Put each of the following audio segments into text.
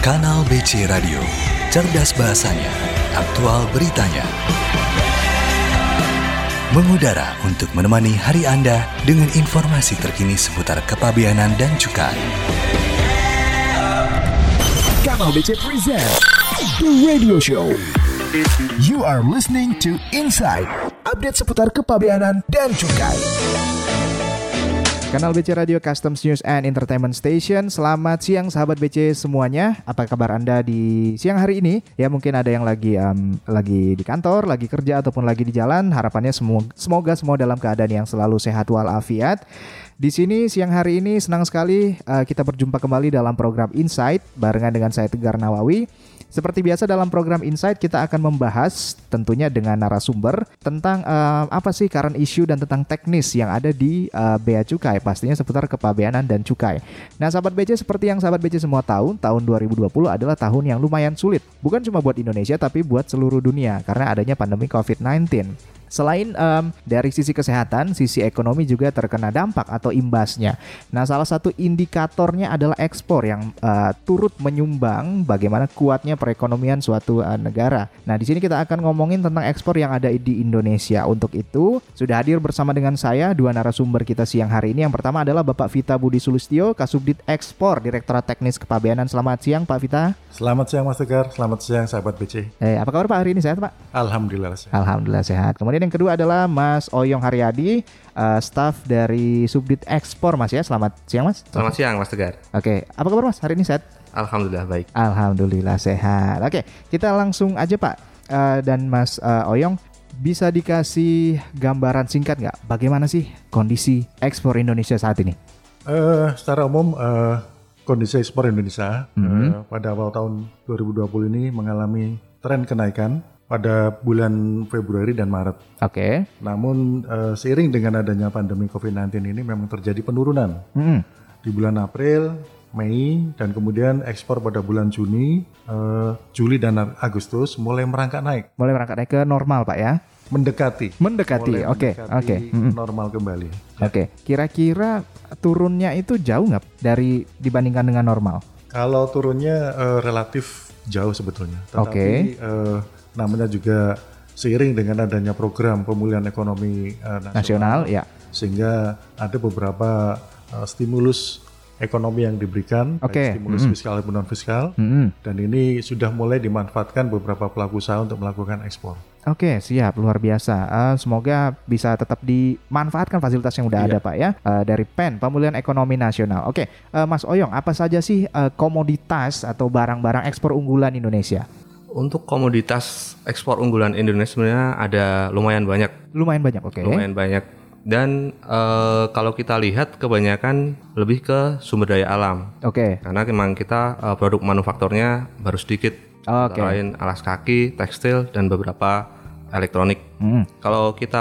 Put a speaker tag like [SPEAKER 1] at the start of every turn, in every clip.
[SPEAKER 1] Kanal BC Radio, cerdas bahasanya, aktual beritanya. Mengudara untuk menemani hari Anda dengan informasi terkini seputar kepabianan dan cukai.
[SPEAKER 2] Kanal BC presents The Radio Show. You are listening to Inside, update seputar kepabeanan dan cukai.
[SPEAKER 3] Kanal BC Radio Customs News and Entertainment Station. Selamat siang sahabat BC semuanya. Apa kabar Anda di siang hari ini? Ya mungkin ada yang lagi em, lagi di kantor, lagi kerja ataupun lagi di jalan. Harapannya semu- semoga semua dalam keadaan yang selalu sehat walafiat. Di sini siang hari ini senang sekali eh, kita berjumpa kembali dalam program Insight barengan dengan saya Tegar Nawawi. Seperti biasa dalam program Insight kita akan membahas tentunya dengan narasumber tentang eh, apa sih current issue dan tentang teknis yang ada di eh, bea cukai pastinya seputar kepabeanan dan cukai. Nah, sahabat BC seperti yang sahabat BC semua tahu, tahun 2020 adalah tahun yang lumayan sulit. Bukan cuma buat Indonesia tapi buat seluruh dunia karena adanya pandemi COVID-19. Selain em, dari sisi kesehatan, sisi ekonomi juga terkena dampak atau imbasnya. Nah, salah satu indikatornya adalah ekspor yang eh, turut menyumbang bagaimana kuatnya perekonomian suatu eh, negara. Nah, di sini kita akan ngomongin tentang ekspor yang ada di Indonesia. Untuk itu, sudah hadir bersama dengan saya dua narasumber kita siang hari ini. Yang pertama adalah Bapak Vita Budi Sulistyo, Kasubdit Ekspor, Direktorat Teknis Kepabeanan. Selamat siang, Pak Vita.
[SPEAKER 4] Selamat siang Mas Tegar, selamat siang sahabat BC.
[SPEAKER 3] Eh, apa kabar Pak hari ini? Sehat, Pak?
[SPEAKER 4] Alhamdulillah sehat.
[SPEAKER 3] Alhamdulillah sehat. Kemudian yang kedua adalah Mas Oyong Haryadi, eh, staff dari Subdit Ekspor Mas ya. Selamat siang Mas.
[SPEAKER 5] Selamat siang Mas Tegar.
[SPEAKER 3] Oke, apa kabar Mas? Hari ini sehat?
[SPEAKER 5] Alhamdulillah baik.
[SPEAKER 3] Alhamdulillah sehat. Oke, kita langsung aja Pak eh, dan Mas eh, Oyong bisa dikasih gambaran singkat nggak bagaimana sih kondisi ekspor Indonesia saat ini?
[SPEAKER 4] Eh, secara umum eh, kondisi ekspor Indonesia
[SPEAKER 5] Mhm.
[SPEAKER 4] eh, pada awal tahun 2020 ini mengalami tren kenaikan pada bulan Februari dan Maret.
[SPEAKER 3] Oke.
[SPEAKER 4] Namun eh, seiring dengan adanya pandemi COVID-19 ini memang terjadi penurunan
[SPEAKER 3] Mm-mm.
[SPEAKER 4] di bulan April, Mei, dan kemudian ekspor pada bulan Juni, eh, Juli dan Agustus mulai merangkak naik,
[SPEAKER 3] Mulai berangkat naik ke normal Pak ya.
[SPEAKER 4] mendekati.
[SPEAKER 3] Mendekati.
[SPEAKER 4] Mulai
[SPEAKER 3] Oke,
[SPEAKER 4] mendekati
[SPEAKER 3] oke. Mm-mm.
[SPEAKER 4] normal kembali.
[SPEAKER 3] Oke, kira-kira turunnya itu jauh nggak dari dibandingkan dengan normal?
[SPEAKER 4] Kalau turunnya eh, relatif jauh sebetulnya, tetapi
[SPEAKER 3] Oke.
[SPEAKER 4] eh, namanya juga seiring dengan adanya program pemulihan ekonomi eh, nasional,
[SPEAKER 3] Nasional, ya.
[SPEAKER 4] sehingga ada beberapa eh, stimulus ekonomi yang diberikan,
[SPEAKER 3] Oke,
[SPEAKER 4] baik stimulus fiskal maupun non fiskal,
[SPEAKER 3] Mm-mm.
[SPEAKER 4] dan ini sudah mulai dimanfaatkan beberapa pelaku usaha untuk melakukan ekspor.
[SPEAKER 3] Oke, siap, luar biasa. Eh, semoga bisa tetap dimanfaatkan fasilitas yang
[SPEAKER 5] Iya.
[SPEAKER 3] udah ada, Pak ya, Eh, dari PEN Pemulihan Ekonomi Nasional. Oke, eh, Mas Oyong, apa saja sih eh, komoditas atau barang-barang ekspor unggulan Indonesia?
[SPEAKER 5] Untuk komoditas ekspor unggulan Indonesia sebenarnya ada lumayan banyak,
[SPEAKER 3] Lumayan banyak, oke.
[SPEAKER 5] lumayan banyak. Dan eh, kalau kita lihat kebanyakan lebih ke sumber daya alam.
[SPEAKER 3] Oke,
[SPEAKER 5] Karena memang kita eh, produk manufakturnya baru sedikit.
[SPEAKER 3] Oke.
[SPEAKER 5] Antara lain alas kaki, tekstil dan beberapa elektronik.
[SPEAKER 3] Mm-mm.
[SPEAKER 5] Kalau kita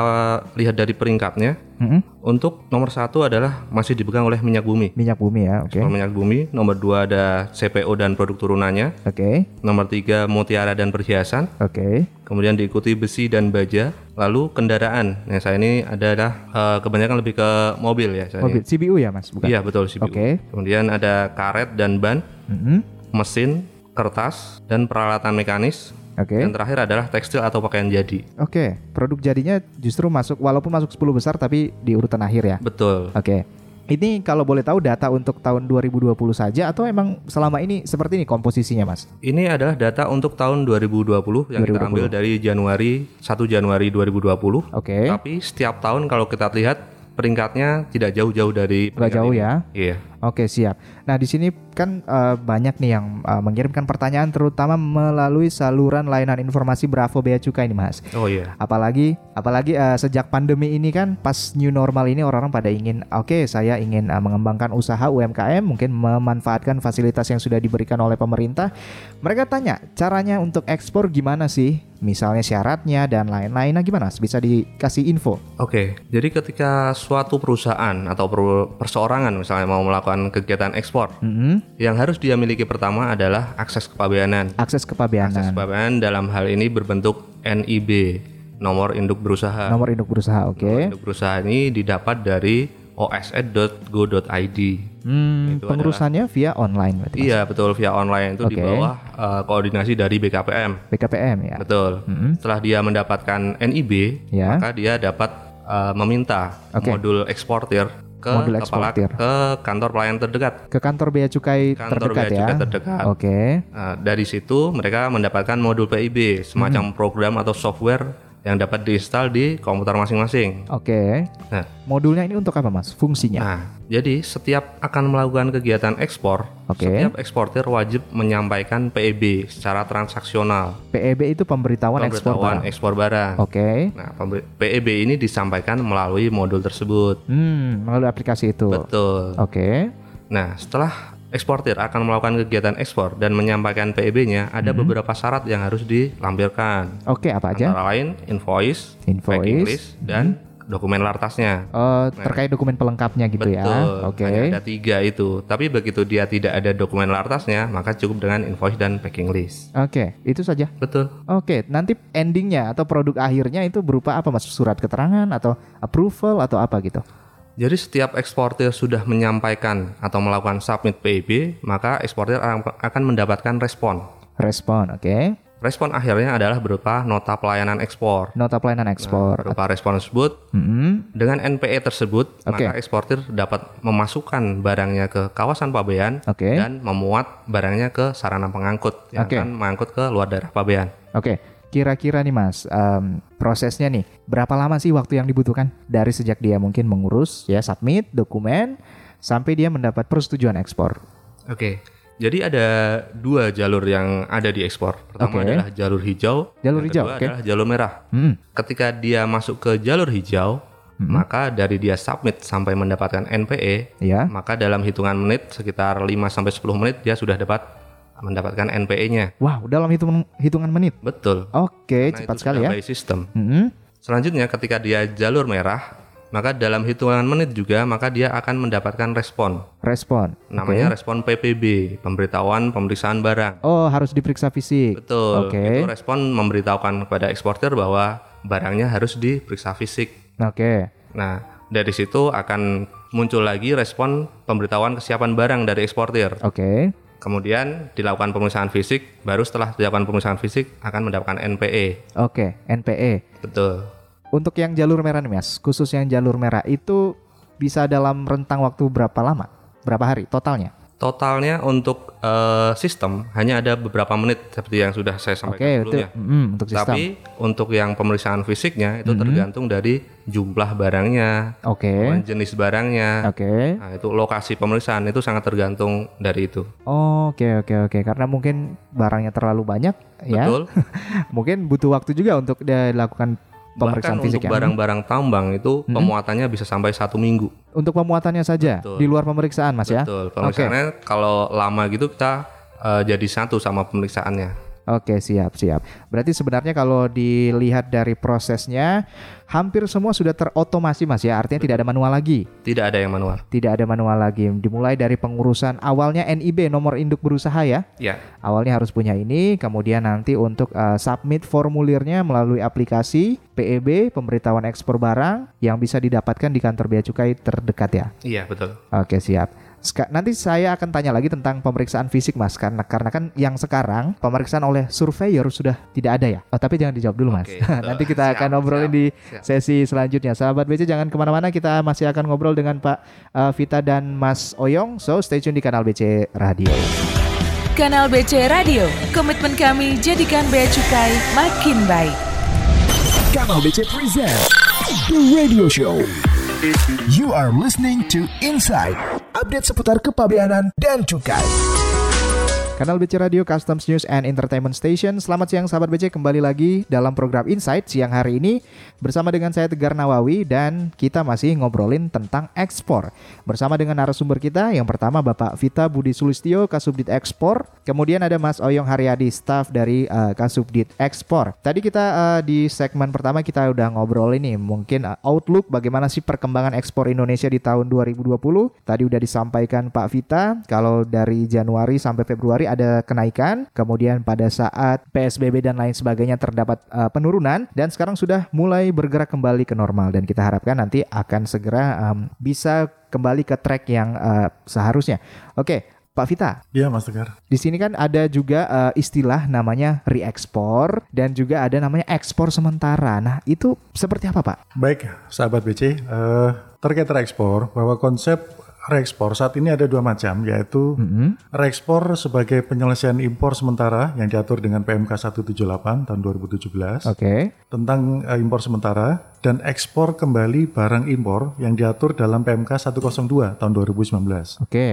[SPEAKER 5] lihat dari peringkatnya,
[SPEAKER 3] Mm-mm.
[SPEAKER 5] untuk nomor satu adalah masih dipegang oleh minyak bumi.
[SPEAKER 3] minyak bumi ya, Hmm. oke,
[SPEAKER 5] Ekspor Minyak bumi. Nomor dua ada CPO dan produk turunannya.
[SPEAKER 3] oke,
[SPEAKER 5] Nomor tiga mutiara dan perhiasan.
[SPEAKER 3] oke,
[SPEAKER 5] Kemudian diikuti besi dan baja. Lalu kendaraan. Yang saya ini adalah eh, kebanyakan lebih ke mobil ya. Saya
[SPEAKER 3] mobil
[SPEAKER 5] ini.
[SPEAKER 3] CBU ya, Mas, bukan?
[SPEAKER 5] Iya betul CBU.
[SPEAKER 3] Oke.
[SPEAKER 5] Kemudian ada karet dan ban,
[SPEAKER 3] Mm-mm.
[SPEAKER 5] mesin, kertas dan peralatan mekanis.
[SPEAKER 3] Oke,
[SPEAKER 5] Dan terakhir adalah tekstil atau pakaian jadi.
[SPEAKER 3] oke. Produk jadinya justru masuk, walaupun masuk 10 besar, tapi di urutan akhir ya.
[SPEAKER 5] Betul.
[SPEAKER 3] Oke. Ini kalau boleh tahu data untuk tahun 2020 saja atau emang selama ini seperti ini komposisinya, Mas?
[SPEAKER 5] Ini adalah data untuk tahun 2020 yang kita ambil dari Januari 1 Januari 2020.
[SPEAKER 3] Oke.
[SPEAKER 5] Tapi setiap tahun kalau kita lihat peringkatnya tidak jauh-jauh dari
[SPEAKER 3] Nggak
[SPEAKER 5] peringkat
[SPEAKER 3] jauh
[SPEAKER 5] ini.
[SPEAKER 3] ya.
[SPEAKER 5] Iya.
[SPEAKER 3] Oke, siap. Nah, di sini kan eh, banyak nih yang eh, mengirimkan pertanyaan terutama melalui saluran layanan informasi Bravo Bea Cukai nih, Mas.
[SPEAKER 5] Oh iya.
[SPEAKER 3] Apalagi apalagi eh, sejak pandemi ini kan pas new normal ini orang-orang pada ingin oke saya ingin eh, mengembangkan usaha UMKM mungkin memanfaatkan fasilitas yang sudah diberikan oleh pemerintah. Mereka tanya caranya untuk ekspor gimana sih? Misalnya syaratnya dan lain-lain. Nah, gimana Mas? Bisa dikasih info?
[SPEAKER 5] Oke. Jadi ketika suatu perusahaan atau per- perseorangan misalnya mau melakukan kegiatan ekspor,
[SPEAKER 3] Mm-mm.
[SPEAKER 5] yang harus dia miliki pertama adalah akses kepabeanan.
[SPEAKER 3] Akses
[SPEAKER 5] Akses
[SPEAKER 3] kepabeanan.
[SPEAKER 5] kepabeanan dalam hal ini berbentuk NIB, nomor induk berusaha.
[SPEAKER 3] Nomor ya? induk berusaha, oke.
[SPEAKER 5] Nomor induk berusaha ini didapat dari osn.go.id.
[SPEAKER 3] Hmm,
[SPEAKER 5] Itu
[SPEAKER 3] pengurusannya via online berarti. Mas?
[SPEAKER 5] Iya betul via online itu di
[SPEAKER 3] Oke.
[SPEAKER 5] bawah eh, koordinasi dari BKPM.
[SPEAKER 3] BKPM ya.
[SPEAKER 5] Betul. Setelah dia mendapatkan NIB,
[SPEAKER 3] Ya.
[SPEAKER 5] maka dia dapat eh, meminta
[SPEAKER 3] Oke.
[SPEAKER 5] modul eksportir ke
[SPEAKER 3] Modul
[SPEAKER 5] kepala
[SPEAKER 3] eksportir.
[SPEAKER 5] ke kantor pelayan terdekat.
[SPEAKER 3] Ke kantor bea cukai
[SPEAKER 5] Kantor
[SPEAKER 3] terdekat
[SPEAKER 5] bea
[SPEAKER 3] ya.
[SPEAKER 5] cukai terdekat.
[SPEAKER 3] Oke.
[SPEAKER 5] Nah, dari situ mereka mendapatkan modul PIB, semacam program atau software yang dapat diinstal di komputer masing-masing.
[SPEAKER 3] Oke.
[SPEAKER 5] Nah,
[SPEAKER 3] Modulnya ini untuk apa Mas? Fungsinya.
[SPEAKER 5] nah, jadi setiap akan melakukan kegiatan ekspor,
[SPEAKER 3] Oke.
[SPEAKER 5] setiap eksportir wajib menyampaikan PIB secara transaksional
[SPEAKER 3] PEB E itu pemberitahuan, ekspor
[SPEAKER 5] pemberitahuan
[SPEAKER 3] barang.
[SPEAKER 5] ekspor barang.
[SPEAKER 3] Oke.
[SPEAKER 5] Nah, pembe- PEB ini disampaikan melalui modul tersebut.
[SPEAKER 3] Hmm, melalui aplikasi itu. Oke.
[SPEAKER 5] Betul. Nah, setelah eksportir akan melakukan kegiatan ekspor dan menyampaikan PEB-nya, ada beberapa syarat yang harus dilampirkan.
[SPEAKER 3] Oke, Mm-hmm. apa aja?
[SPEAKER 5] Antara lain invoice,
[SPEAKER 3] Invoice,
[SPEAKER 5] packing list, dan dokumen lartasnya.
[SPEAKER 3] Eh, terkait dokumen pelengkapnya gitu ya. Oke.
[SPEAKER 5] Nah. Hanya ada tiga itu. Tapi begitu dia tidak ada dokumen lartasnya, maka cukup dengan invoice dan packing list.
[SPEAKER 3] Oke, itu saja.
[SPEAKER 5] Betul.
[SPEAKER 3] Oke, nanti endingnya atau produk akhirnya itu berupa apa mas? Surat keterangan atau approval atau apa gitu?
[SPEAKER 5] Jadi setiap eksportir sudah menyampaikan atau melakukan submit PIB, maka eksportir akan mendapatkan respon.
[SPEAKER 3] Respon, oke.
[SPEAKER 5] Respon akhirnya adalah berupa nota pelayanan ekspor.
[SPEAKER 3] Nota
[SPEAKER 5] Nah,
[SPEAKER 3] pelayanan ekspor. Hmm,
[SPEAKER 5] Berupa respon tersebut,
[SPEAKER 3] Mm-mm.
[SPEAKER 5] dengan NPE tersebut,
[SPEAKER 3] Oke.
[SPEAKER 5] maka eksportir dapat memasukkan barangnya ke kawasan pabean
[SPEAKER 3] Oke.
[SPEAKER 5] dan memuat barangnya ke sarana pengangkut yang
[SPEAKER 3] Oke.
[SPEAKER 5] akan mengangkut ke luar daerah pabean.
[SPEAKER 3] Oke, kira-kira nih mas, em, prosesnya nih berapa lama sih waktu yang dibutuhkan dari sejak dia mungkin mengurus ya submit dokumen sampai dia mendapat persetujuan ekspor?
[SPEAKER 5] Oke. Jadi ada dua jalur yang ada di ekspor.
[SPEAKER 3] Oke.
[SPEAKER 5] Pertama adalah jalur hijau,
[SPEAKER 3] Jalur
[SPEAKER 5] yang
[SPEAKER 3] hijau,
[SPEAKER 5] kedua
[SPEAKER 3] oke.
[SPEAKER 5] adalah jalur merah.
[SPEAKER 3] Hmm,
[SPEAKER 5] ketika dia masuk ke jalur hijau, maka dari dia submit sampai mendapatkan NPE,
[SPEAKER 3] ya.
[SPEAKER 5] maka dalam hitungan menit sekitar 5 sampai 10 menit dia sudah dapat mendapatkan NPE-nya.
[SPEAKER 3] Wow, dalam hitungan hitungan menit.
[SPEAKER 5] Betul.
[SPEAKER 3] Oke,
[SPEAKER 5] Nah,
[SPEAKER 3] cepat
[SPEAKER 5] itu
[SPEAKER 3] sekali ya.
[SPEAKER 5] sudah by system.
[SPEAKER 3] Mm-mm.
[SPEAKER 5] Selanjutnya ketika dia jalur merah, maka dalam hitungan menit juga maka dia akan mendapatkan respon.
[SPEAKER 3] Respon.
[SPEAKER 5] Namanya
[SPEAKER 3] Oke.
[SPEAKER 5] respon PPB, pemberitahuan pemeriksaan barang.
[SPEAKER 3] Oh, harus diperiksa fisik.
[SPEAKER 5] Betul.
[SPEAKER 3] Oke.
[SPEAKER 5] Itu respon memberitahukan kepada eksportir bahwa barangnya harus diperiksa fisik.
[SPEAKER 3] Oke.
[SPEAKER 5] Nah, dari situ akan muncul lagi respon pemberitahuan kesiapan barang dari eksportir.
[SPEAKER 3] Oke.
[SPEAKER 5] Kemudian dilakukan pemeriksaan fisik, baru setelah dilakukan pemeriksaan fisik akan mendapatkan NPE.
[SPEAKER 3] Oke, NPE.
[SPEAKER 5] Betul.
[SPEAKER 3] Untuk yang jalur merah nih mas, khusus yang jalur merah itu bisa dalam rentang waktu berapa lama? Berapa hari totalnya?
[SPEAKER 5] Totalnya untuk eh, sistem hanya ada beberapa menit seperti yang sudah
[SPEAKER 3] Oke,
[SPEAKER 5] saya sampaikan
[SPEAKER 3] untuk,
[SPEAKER 5] sebelumnya.
[SPEAKER 3] mm, untuk sistem.
[SPEAKER 5] ya?
[SPEAKER 3] Mm-hmm.
[SPEAKER 5] Tapi untuk yang pemeriksaan fisiknya itu tergantung dari jumlah barangnya,
[SPEAKER 3] Oke,
[SPEAKER 5] jenis barangnya.
[SPEAKER 3] oke,
[SPEAKER 5] Nah, itu lokasi pemeriksaan itu sangat tergantung dari itu.
[SPEAKER 3] oke, oke, oke. Karena mungkin barangnya terlalu banyak, ya.
[SPEAKER 5] Betul?
[SPEAKER 3] Mungkin butuh waktu juga untuk dilakukan pemeriksaan Mm-hmm.
[SPEAKER 5] Bahkan
[SPEAKER 3] fisik
[SPEAKER 5] untuk
[SPEAKER 3] ya.
[SPEAKER 5] barang-barang tambang itu pemuatannya bisa sampai satu minggu.
[SPEAKER 3] Untuk pemuatannya saja
[SPEAKER 5] Betul.
[SPEAKER 3] di luar pemeriksaan, mas ya.
[SPEAKER 5] Betul. Pemeriksaannya kalau lama gitu kita eh, jadi satu sama pemeriksaannya.
[SPEAKER 3] Oke, siap, siap. Berarti sebenarnya kalau dilihat dari prosesnya, hampir semua sudah terotomasi, mas ya. Artinya tidak ada manual lagi.
[SPEAKER 5] Tidak ada yang manual.
[SPEAKER 3] tidak ada manual lagi. Dimulai dari pengurusan awalnya NIB nomor induk berusaha ya.
[SPEAKER 5] Ya,
[SPEAKER 3] Awalnya harus punya ini, kemudian nanti untuk eh, submit formulirnya melalui aplikasi PEB pemberitahuan ekspor barang yang bisa didapatkan di kantor bea cukai terdekat ya.
[SPEAKER 5] iya betul.
[SPEAKER 3] Oke, siap. Seka- nanti saya akan tanya lagi tentang pemeriksaan fisik Mas karena karena kan yang sekarang pemeriksaan oleh surveyor sudah tidak ada ya. Oh, tapi jangan dijawab dulu Mas.
[SPEAKER 5] Oke, betul.
[SPEAKER 3] nanti kita akan
[SPEAKER 5] Siap,
[SPEAKER 3] obrolin
[SPEAKER 5] siap,
[SPEAKER 3] di
[SPEAKER 5] siap.
[SPEAKER 3] sesi selanjutnya. Sahabat BC jangan kemana mana kita masih akan ngobrol dengan Pak eh, Vita dan Mas Oyong. So, stay tune di kanal BC Radio.
[SPEAKER 6] Kanal BC Radio, komitmen kami jadikan bea cukai makin baik.
[SPEAKER 2] Kanal BC Present The Radio Show You are listening to Inside Update seputar kepabeanan dan cukai
[SPEAKER 3] Kanal BC Radio Customs News and Entertainment Station. Selamat siang sahabat BC kembali lagi dalam program Insight siang hari ini bersama dengan saya Tegar Nawawi dan kita masih ngobrolin tentang ekspor bersama dengan narasumber kita yang pertama Bapak Vita Budi Sulistyo Kasubdit Ekspor. Kemudian ada Mas Oyong Haryadi staf dari eh, Kasubdit Ekspor. Tadi kita eh, di segmen pertama kita udah ngobrol ini mungkin eh, outlook bagaimana sih perkembangan ekspor Indonesia di tahun 2020. Tadi udah disampaikan Pak Vita kalau dari Januari sampai Februari ada kenaikan, kemudian pada saat PSBB dan lain sebagainya terdapat eh, penurunan dan sekarang sudah mulai bergerak kembali ke normal dan kita harapkan nanti akan segera em, bisa kembali ke track yang eh, seharusnya. Oke, Pak Vita,
[SPEAKER 4] Iya Mas Tegar.
[SPEAKER 3] di sini kan ada juga eh, istilah namanya re-export dan juga ada namanya ekspor sementara. Nah, itu seperti apa, Pak?
[SPEAKER 4] Baik, sahabat BC, eh, terkait reekspor, bahwa konsep reekspor saat ini ada dua macam, yaitu reekspor sebagai penyelesaian impor sementara yang diatur dengan PMK 178 tahun 2017
[SPEAKER 3] Oke.
[SPEAKER 4] tentang eh, impor sementara dan ekspor kembali barang impor yang diatur dalam PMK 102 tahun 2019.
[SPEAKER 3] Oke.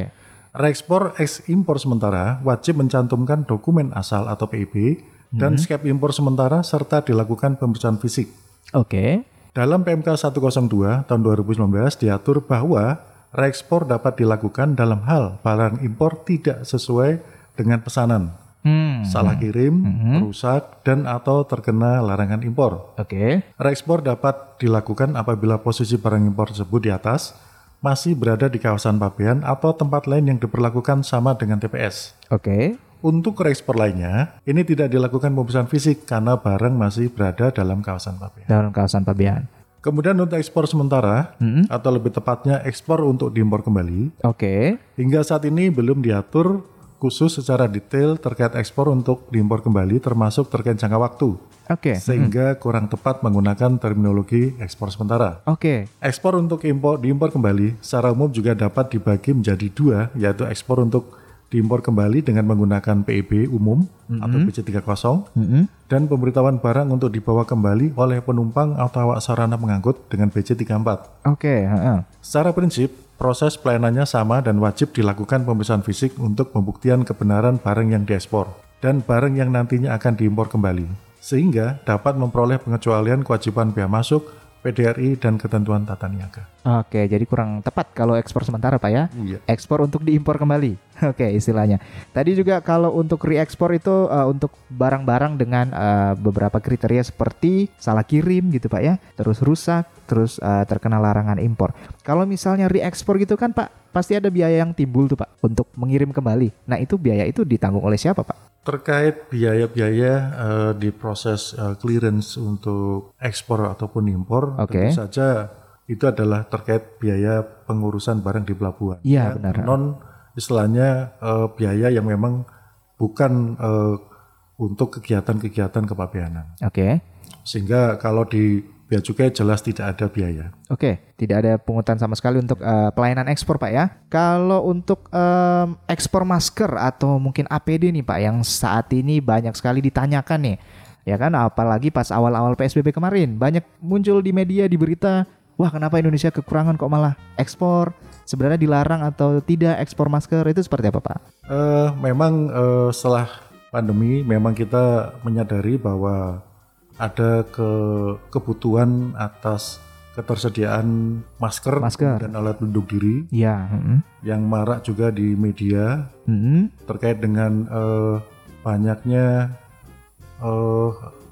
[SPEAKER 4] Reekspor eks impor sementara wajib mencantumkan dokumen asal atau PIB dan skep impor sementara serta dilakukan pemeriksaan fisik.
[SPEAKER 3] Oke.
[SPEAKER 4] Dalam PMK 102 tahun 2019 diatur bahwa reekspor dapat dilakukan dalam hal barang impor tidak sesuai dengan pesanan,
[SPEAKER 3] Hmm.
[SPEAKER 4] salah kirim, rusak dan atau terkena larangan impor.
[SPEAKER 3] Oke.
[SPEAKER 4] Reekspor dapat dilakukan apabila posisi barang impor tersebut di atas masih berada di kawasan pabean atau tempat lain yang diperlakukan sama dengan TPS.
[SPEAKER 3] Oke.
[SPEAKER 4] Untuk reekspor lainnya, ini tidak dilakukan pemeriksaan fisik karena barang masih berada dalam kawasan pabean.
[SPEAKER 3] Dalam kawasan pabean.
[SPEAKER 4] Kemudian untuk ekspor sementara, atau lebih tepatnya ekspor untuk diimpor kembali,
[SPEAKER 3] Oke.
[SPEAKER 4] hingga saat ini belum diatur khusus secara detail terkait ekspor untuk diimpor kembali termasuk terkait jangka waktu,
[SPEAKER 3] Oke.
[SPEAKER 4] sehingga kurang tepat menggunakan terminologi ekspor sementara.
[SPEAKER 3] Oke.
[SPEAKER 4] Ekspor untuk impor diimpor kembali secara umum juga dapat dibagi menjadi dua, yaitu ekspor untuk diimpor kembali dengan menggunakan PIB umum atau BC30 dan pemberitahuan barang untuk dibawa kembali oleh penumpang atau awak sarana pengangkut dengan BC34.
[SPEAKER 3] Oke. heeh.
[SPEAKER 4] Secara prinsip, proses pelayanannya sama dan wajib dilakukan pemeriksaan fisik untuk pembuktian kebenaran barang yang diekspor dan barang yang nantinya akan diimpor kembali, sehingga dapat memperoleh pengecualian kewajiban bea masuk, PDRI, dan ketentuan tata niaga.
[SPEAKER 3] Oke, jadi kurang tepat kalau ekspor sementara, Pak ya.
[SPEAKER 4] Iya.
[SPEAKER 3] Ekspor untuk diimpor kembali. Oke, istilahnya. Tadi juga kalau untuk re-ekspor itu eh, untuk barang-barang dengan eh, beberapa kriteria seperti salah kirim gitu, Pak ya. Terus rusak, terus eh, terkena larangan impor. Kalau misalnya re-ekspor gitu kan, Pak, pasti ada biaya yang timbul tuh, Pak, untuk mengirim kembali. Nah, itu biaya itu ditanggung oleh siapa, Pak?
[SPEAKER 4] Terkait biaya-biaya eh, di proses eh, clearance untuk ekspor ataupun impor,
[SPEAKER 3] Oke.
[SPEAKER 4] tentu saja itu adalah terkait biaya pengurusan barang di pelabuhan.
[SPEAKER 3] Iya,
[SPEAKER 4] Ya,
[SPEAKER 3] benar.
[SPEAKER 4] Non istilahnya eh, biaya yang memang bukan eh, untuk kegiatan-kegiatan kepabeanan.
[SPEAKER 3] Oke.
[SPEAKER 4] Sehingga kalau di bea cukai jelas tidak ada biaya.
[SPEAKER 3] Oke, tidak ada pungutan sama sekali untuk eh, pelayanan ekspor, Pak ya. Kalau untuk em, ekspor masker atau mungkin APD nih, Pak, yang saat ini banyak sekali ditanyakan nih. Ya kan, apalagi pas awal-awal PSBB kemarin, banyak muncul di media di berita, wah kenapa Indonesia kekurangan kok malah ekspor? Sebenarnya dilarang atau tidak ekspor masker itu seperti apa, Pak?
[SPEAKER 4] Eh, memang eh, setelah pandemi memang kita menyadari bahwa ada ke- kebutuhan atas ketersediaan masker,
[SPEAKER 3] Masker.
[SPEAKER 4] dan alat pelindung diri
[SPEAKER 3] Iya, heeh.
[SPEAKER 4] yang marak juga di media
[SPEAKER 3] Heeh.
[SPEAKER 4] terkait dengan eh, banyaknya eh,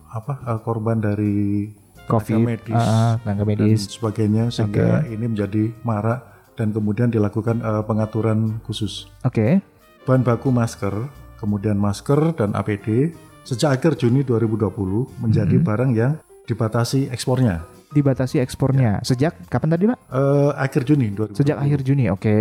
[SPEAKER 4] apa eh, korban dari tenaga
[SPEAKER 3] Covid,
[SPEAKER 4] medis,
[SPEAKER 3] ah, ah, tenaga medis.
[SPEAKER 4] dan sebagainya sehingga ini menjadi marak dan kemudian dilakukan eh, pengaturan khusus
[SPEAKER 3] Oke.
[SPEAKER 4] bahan baku masker, kemudian masker dan APD sejak akhir Juni 2020 menjadi
[SPEAKER 3] Mm-hmm.
[SPEAKER 4] barang yang dibatasi ekspornya.
[SPEAKER 3] Dibatasi ekspornya. Sejak kapan tadi, Pak?
[SPEAKER 4] Eh, akhir Juni 2020.
[SPEAKER 3] Sejak akhir Juni, oke.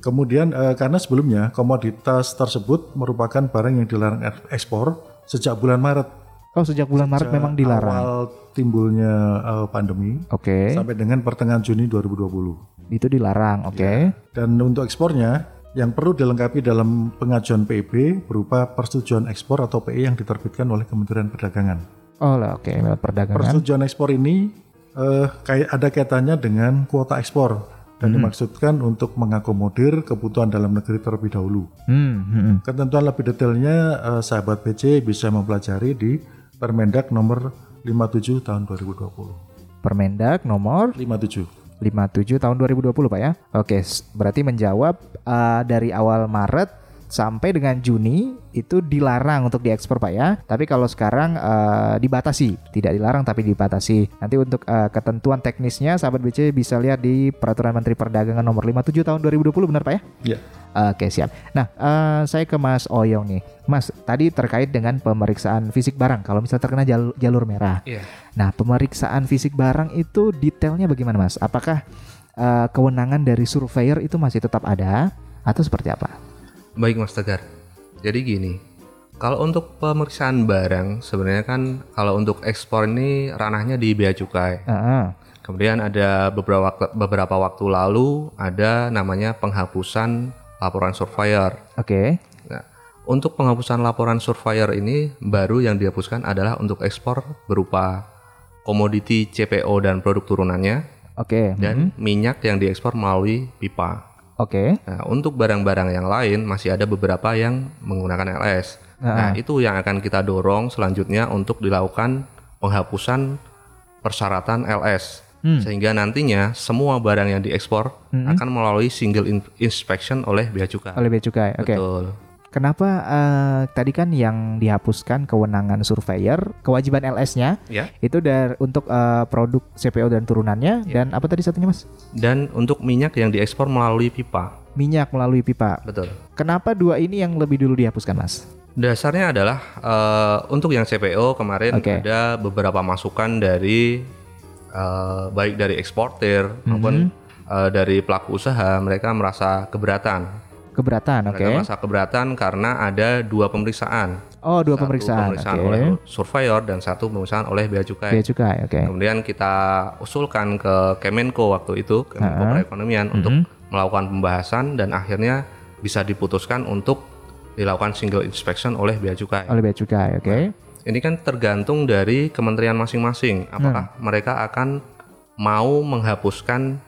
[SPEAKER 4] Kemudian eh, karena sebelumnya komoditas tersebut merupakan barang yang dilarang ek- ekspor sejak bulan Maret.
[SPEAKER 3] Oh, sejak bulan Maret memang dilarang.
[SPEAKER 4] Awal timbulnya eh, pandemi
[SPEAKER 3] Oke.
[SPEAKER 4] sampai dengan pertengahan Juni 2020.
[SPEAKER 3] Itu dilarang, oke.
[SPEAKER 4] Iya. Dan untuk ekspornya yang perlu dilengkapi dalam pengajuan PIB berupa persetujuan ekspor atau PI yang diterbitkan oleh Kementerian Perdagangan.
[SPEAKER 3] Oh lah, oke, lewat perdagangan.
[SPEAKER 4] persetujuan ekspor ini eh, kayak ada kaitannya dengan kuota ekspor dan dimaksudkan untuk mengakomodir kebutuhan dalam negeri terlebih dahulu.
[SPEAKER 3] Hmm, hmm, hmm.
[SPEAKER 4] Ketentuan lebih detailnya eh, sahabat PC bisa mempelajari di Permendak nomor 57 tahun 2020.
[SPEAKER 3] Permendak nomor
[SPEAKER 4] 57.
[SPEAKER 3] 57 tahun 2020, Pak ya. Oke, s- berarti menjawab eh, dari awal Maret sampai dengan Juni itu dilarang untuk diekspor Pak ya. Tapi kalau sekarang eh, dibatasi, tidak dilarang tapi dibatasi. Nanti untuk eh, ketentuan teknisnya sahabat BC bisa lihat di Peraturan Menteri Perdagangan nomor 57 tahun 2020 benar Pak ya?
[SPEAKER 4] Iya.
[SPEAKER 3] Oke siap. Nah eh, saya ke Mas Oyong nih, Mas tadi terkait dengan pemeriksaan fisik barang. Kalau misalnya terkena jalur, jalur merah,
[SPEAKER 5] Iya.
[SPEAKER 3] nah pemeriksaan fisik barang itu detailnya bagaimana Mas? Apakah eh, kewenangan dari surveyor itu masih tetap ada atau seperti apa?
[SPEAKER 5] Baik Mas Tegar. Jadi gini, kalau untuk pemeriksaan barang sebenarnya kan kalau untuk ekspor ini ranahnya di bea cukai.
[SPEAKER 3] Heeh.
[SPEAKER 5] Kemudian ada beberapa waktu, beberapa waktu lalu ada namanya penghapusan laporan surveyor.
[SPEAKER 3] Oke.
[SPEAKER 5] Nah, untuk penghapusan laporan surveyor ini baru yang dihapuskan adalah untuk ekspor berupa komoditi CPO dan produk turunannya
[SPEAKER 3] Oke.
[SPEAKER 5] dan minyak yang diekspor melalui pipa.
[SPEAKER 3] Oke.
[SPEAKER 5] Nah, untuk barang-barang yang lain masih ada beberapa yang menggunakan LS. Nah, itu yang akan kita dorong selanjutnya untuk dilakukan penghapusan persyaratan LS.
[SPEAKER 3] Hmm.
[SPEAKER 5] Sehingga nantinya semua barang yang diekspor akan melalui single in- inspection oleh Bea Cukai.
[SPEAKER 3] Oleh Bea Cukai. Oke.
[SPEAKER 5] Betul.
[SPEAKER 3] Kenapa eh, tadi kan yang dihapuskan kewenangan surveyor, kewajiban LS-nya
[SPEAKER 5] Ya.
[SPEAKER 3] itu dari untuk eh, produk CPO dan turunannya
[SPEAKER 5] Iya.
[SPEAKER 3] dan apa tadi satunya Mas?
[SPEAKER 5] Dan untuk minyak yang diekspor melalui pipa.
[SPEAKER 3] Minyak melalui pipa.
[SPEAKER 5] Betul.
[SPEAKER 3] Kenapa dua ini yang lebih dulu dihapuskan, Mas?
[SPEAKER 5] Dasarnya adalah eh, untuk yang CPO kemarin
[SPEAKER 3] Oke.
[SPEAKER 5] ada beberapa masukan dari eh, baik dari eksportir
[SPEAKER 3] Mhm.
[SPEAKER 5] maupun eh, dari pelaku usaha mereka merasa keberatan.
[SPEAKER 3] Keberatan, oke.
[SPEAKER 5] Mereka merasa keberatan karena ada dua pemeriksaan.
[SPEAKER 3] Oh, dua
[SPEAKER 5] Satu
[SPEAKER 3] pemeriksaan.
[SPEAKER 5] pemeriksaan
[SPEAKER 3] oke.
[SPEAKER 5] oleh surveyor dan satu pemeriksaan oleh bea cukai.
[SPEAKER 3] Bea cukai, oke.
[SPEAKER 5] Kemudian kita usulkan ke Kemenko waktu itu, Kemenko Perekonomian
[SPEAKER 3] Mhm.
[SPEAKER 5] untuk melakukan pembahasan dan akhirnya bisa diputuskan untuk dilakukan single inspection oleh bea cukai.
[SPEAKER 3] Oleh bea cukai, oke.
[SPEAKER 5] Ini kan tergantung dari kementerian masing-masing apakah
[SPEAKER 3] Hmm.
[SPEAKER 5] mereka akan mau menghapuskan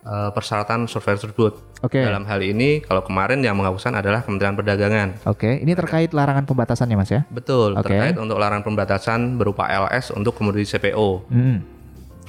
[SPEAKER 5] eh, persyaratan survei tersebut.
[SPEAKER 3] Oke.
[SPEAKER 5] Dalam hal ini kalau kemarin yang menghapuskan adalah Kementerian Perdagangan.
[SPEAKER 3] Oke, ini terkait larangan pembatasannya, Mas ya?
[SPEAKER 5] Betul,
[SPEAKER 3] Oke.
[SPEAKER 5] terkait untuk larangan pembatasan berupa LS untuk komoditi CPO.
[SPEAKER 3] Hmm.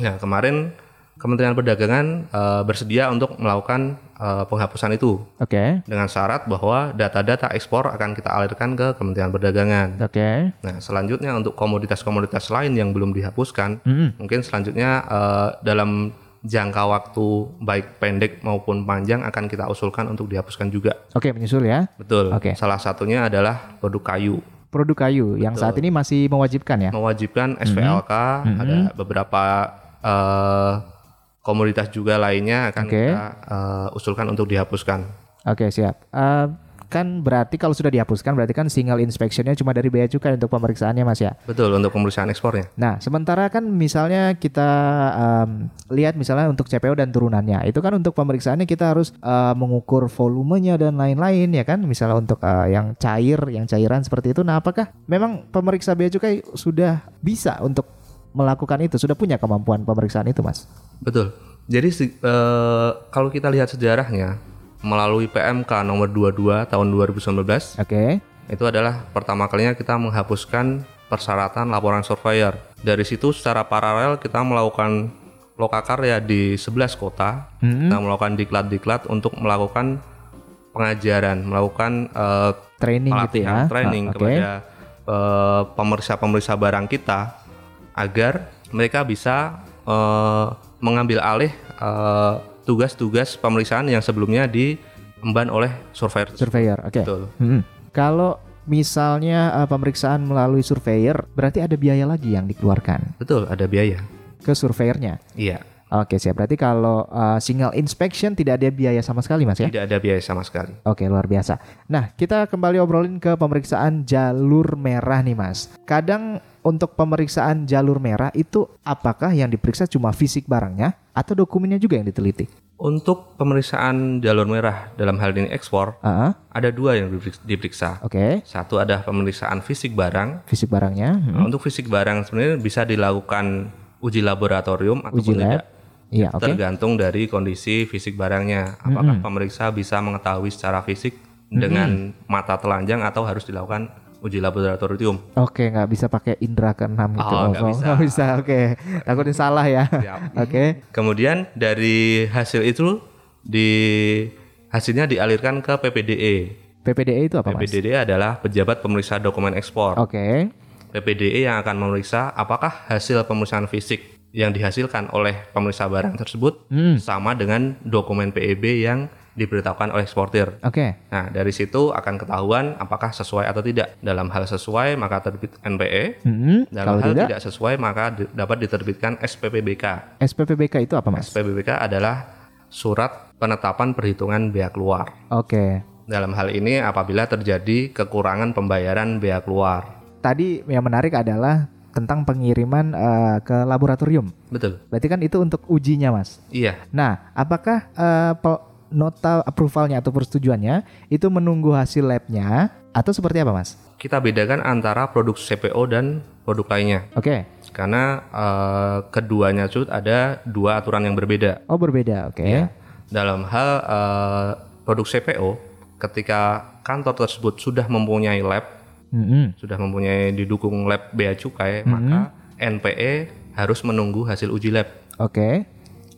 [SPEAKER 5] Nah, kemarin Kementerian Perdagangan eh, bersedia untuk melakukan eh, penghapusan itu
[SPEAKER 3] Oke.
[SPEAKER 5] dengan syarat bahwa data-data ekspor akan kita alirkan ke Kementerian Perdagangan.
[SPEAKER 3] Oke.
[SPEAKER 5] Nah, selanjutnya untuk komoditas-komoditas lain yang belum dihapuskan,
[SPEAKER 3] Mm-hmm.
[SPEAKER 5] mungkin selanjutnya eh, dalam jangka waktu baik pendek maupun panjang akan kita usulkan untuk dihapuskan juga.
[SPEAKER 3] Oke, menyusul ya.
[SPEAKER 5] Betul.
[SPEAKER 3] Oke.
[SPEAKER 5] Salah satunya adalah produk kayu.
[SPEAKER 3] Produk kayu yang saat ini masih mewajibkan ya. Mm-hmm.
[SPEAKER 5] Mewajibkan SPLK, ada beberapa eh, komoditas juga lainnya akan
[SPEAKER 3] Oke.
[SPEAKER 5] kita eh, usulkan untuk dihapuskan.
[SPEAKER 3] Oke, siap. Eh, kan berarti kalau sudah dihapuskan berarti kan single inspectionnya cuma dari bea cukai untuk pemeriksaannya, Mas ya?
[SPEAKER 5] Betul, untuk pemeriksaan ekspornya.
[SPEAKER 3] Nah, sementara kan misalnya kita em, lihat misalnya untuk CPO dan turunannya, itu kan untuk pemeriksaannya kita harus eh, mengukur volumenya dan lain-lain ya kan, misalnya untuk eh, yang cair, yang cairan seperti itu. Nah, apakah memang pemeriksa bea cukai sudah bisa untuk melakukan itu, sudah punya kemampuan pemeriksaan itu, Mas?
[SPEAKER 5] Betul. Jadi se- eh, kalau kita lihat sejarahnya melalui PMK nomor 22 tahun 2019
[SPEAKER 3] Oke.
[SPEAKER 5] itu adalah pertama kalinya kita menghapuskan persyaratan laporan surveyor. Dari situ secara paralel kita melakukan lokakarya di 11 kota. Kita melakukan diklat-diklat untuk melakukan pengajaran, melakukan eh,
[SPEAKER 3] Training gitu
[SPEAKER 5] pelatihan,
[SPEAKER 3] ya.
[SPEAKER 5] training
[SPEAKER 3] Ah, oke.
[SPEAKER 5] kepada eh, pemeriksa-pemeriksa barang kita agar mereka bisa eh, mengambil alih eh, tugas-tugas pemeriksaan yang sebelumnya diemban oleh surveyor.
[SPEAKER 3] Surveyor. Oke.
[SPEAKER 5] Betul.
[SPEAKER 3] Mm-mm. Kalau misalnya eh, pemeriksaan melalui surveyor, berarti ada biaya lagi yang dikeluarkan
[SPEAKER 5] Betul, ada biaya.
[SPEAKER 3] ke surveyornya.
[SPEAKER 5] Iya,
[SPEAKER 3] Oke siap. Berarti kalau uh, single inspection tidak ada biaya sama sekali mas ya?
[SPEAKER 5] tidak ada biaya sama sekali.
[SPEAKER 3] Oke luar biasa. Nah kita kembali obrolin ke pemeriksaan jalur merah nih mas. Kadang untuk pemeriksaan jalur merah itu apakah yang diperiksa cuma fisik barangnya atau dokumennya juga yang diteliti?
[SPEAKER 5] Untuk pemeriksaan jalur merah dalam hal ini ekspor,
[SPEAKER 3] Ah,
[SPEAKER 5] ada dua yang diperik- diperiksa.
[SPEAKER 3] Oke
[SPEAKER 5] Satu ada pemeriksaan fisik barang.
[SPEAKER 3] fisik barangnya. hmm.
[SPEAKER 5] Nah, Untuk fisik barang sebenarnya bisa dilakukan uji laboratorium atau
[SPEAKER 3] Uji lab.
[SPEAKER 5] tidak.
[SPEAKER 3] Iya oke.
[SPEAKER 5] Tergantung dari kondisi fisik barangnya. Apakah pemeriksa bisa mengetahui secara fisik dengan mata telanjang atau harus dilakukan uji laboratorium?
[SPEAKER 3] Oke, nggak bisa pakai indera keenam gitu.
[SPEAKER 5] Oh, nggak bisa.
[SPEAKER 3] Oke, takutnya salah ya.
[SPEAKER 5] Siap.
[SPEAKER 3] Oke,
[SPEAKER 5] Kemudian dari hasil itu di hasilnya dialirkan ke PPDE.
[SPEAKER 3] PPDE E itu apa Oh, mas? Oh.
[SPEAKER 5] PPDE E adalah pejabat pemeriksa dokumen ekspor.
[SPEAKER 3] Oke.
[SPEAKER 5] PPDE E yang akan memeriksa apakah hasil pemeriksaan fisik yang dihasilkan oleh pemeriksa barang tersebut
[SPEAKER 3] Mm.
[SPEAKER 5] sama dengan dokumen PEB yang diberitahukan oleh eksportir.
[SPEAKER 3] Oke.
[SPEAKER 5] Nah, dari situ akan ketahuan apakah sesuai atau tidak. Dalam hal sesuai maka terbit NPE,
[SPEAKER 3] Mm-mm.
[SPEAKER 5] dalam
[SPEAKER 3] Hmm, Kalau
[SPEAKER 5] hal
[SPEAKER 3] tidak,
[SPEAKER 5] tidak, sesuai maka di- dapat diterbitkan SPPBK.
[SPEAKER 3] SPPBK itu apa mas?
[SPEAKER 5] SPPBK adalah surat penetapan perhitungan bea keluar.
[SPEAKER 3] Oke.
[SPEAKER 5] Dalam hal ini apabila terjadi kekurangan pembayaran bea keluar.
[SPEAKER 3] Tadi yang menarik adalah tentang pengiriman eh, ke laboratorium.
[SPEAKER 5] Betul.
[SPEAKER 3] Berarti kan itu untuk ujinya mas.
[SPEAKER 5] Iya,
[SPEAKER 3] Nah, apakah eh, pe- nota approvalnya atau persetujuannya itu menunggu hasil labnya atau seperti apa mas?
[SPEAKER 5] kita bedakan antara produk CPO dan produk lainnya
[SPEAKER 3] Oke.
[SPEAKER 5] karena eh, keduanya cut ada dua aturan yang berbeda
[SPEAKER 3] Oh berbeda. Oke.
[SPEAKER 5] Iya. dalam hal eh, produk CPO ketika kantor tersebut sudah mempunyai lab
[SPEAKER 3] Mm-mm.
[SPEAKER 5] sudah mempunyai didukung lab bea cukai
[SPEAKER 3] Mhm.
[SPEAKER 5] maka NPE harus menunggu hasil uji lab
[SPEAKER 3] Oke.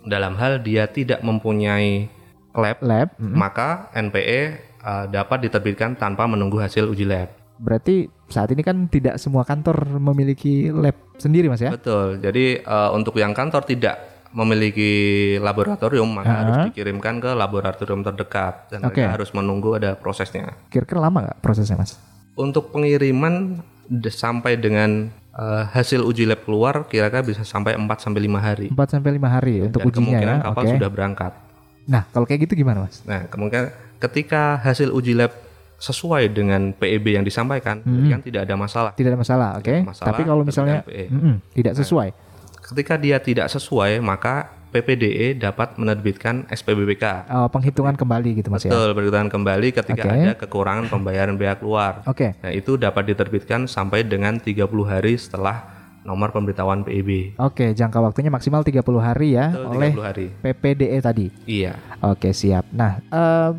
[SPEAKER 5] dalam hal dia tidak mempunyai lab,
[SPEAKER 3] Lab. mm-mm.
[SPEAKER 5] maka NPE eh, dapat diterbitkan tanpa menunggu hasil uji lab
[SPEAKER 3] Berarti saat ini kan tidak semua kantor memiliki lab sendiri mas ya?
[SPEAKER 5] Betul. Jadi eh, untuk yang kantor tidak memiliki laboratorium maka harus dikirimkan ke laboratorium terdekat dan
[SPEAKER 3] Oke.
[SPEAKER 5] mereka harus menunggu ada prosesnya.
[SPEAKER 3] Kira-kira lama nggak prosesnya mas?
[SPEAKER 5] Untuk pengiriman de- sampai dengan eh, hasil uji lab keluar kira-kira bisa sampai 4 sampai 5 hari.
[SPEAKER 3] 4 sampai lima hari untuk
[SPEAKER 5] dan
[SPEAKER 3] ujinya ya.
[SPEAKER 5] kemungkinan
[SPEAKER 3] Oke.
[SPEAKER 5] kapal sudah berangkat.
[SPEAKER 3] Nah kalau kayak gitu gimana mas?
[SPEAKER 5] Nah, kemungkinan ketika hasil uji lab sesuai dengan PEB yang disampaikan,
[SPEAKER 3] Hmm.
[SPEAKER 5] kan tidak ada masalah.
[SPEAKER 3] Tidak ada masalah, oke?
[SPEAKER 5] masalah,
[SPEAKER 3] Tapi kalau misalnya
[SPEAKER 5] terkait PE.
[SPEAKER 3] Mm-mm, tidak sesuai,
[SPEAKER 5] Ketika dia tidak sesuai, maka PPDE E dapat menerbitkan SPBBK.
[SPEAKER 3] eh, penghitungan kembali gitu mas ya?
[SPEAKER 5] Betul, beritahuan kembali ketika
[SPEAKER 3] Oke.
[SPEAKER 5] ada kekurangan pembayaran bea keluar.
[SPEAKER 3] Oke.
[SPEAKER 5] Nah, itu dapat diterbitkan sampai dengan 30 hari setelah nomor pemberitahuan PEB.
[SPEAKER 3] Oke, jangka waktunya maksimal 30 hari ya
[SPEAKER 5] Betul,
[SPEAKER 3] oleh
[SPEAKER 5] 30 hari.
[SPEAKER 3] PPDE E tadi.
[SPEAKER 5] Iya.
[SPEAKER 3] Oke siap. Nah eh,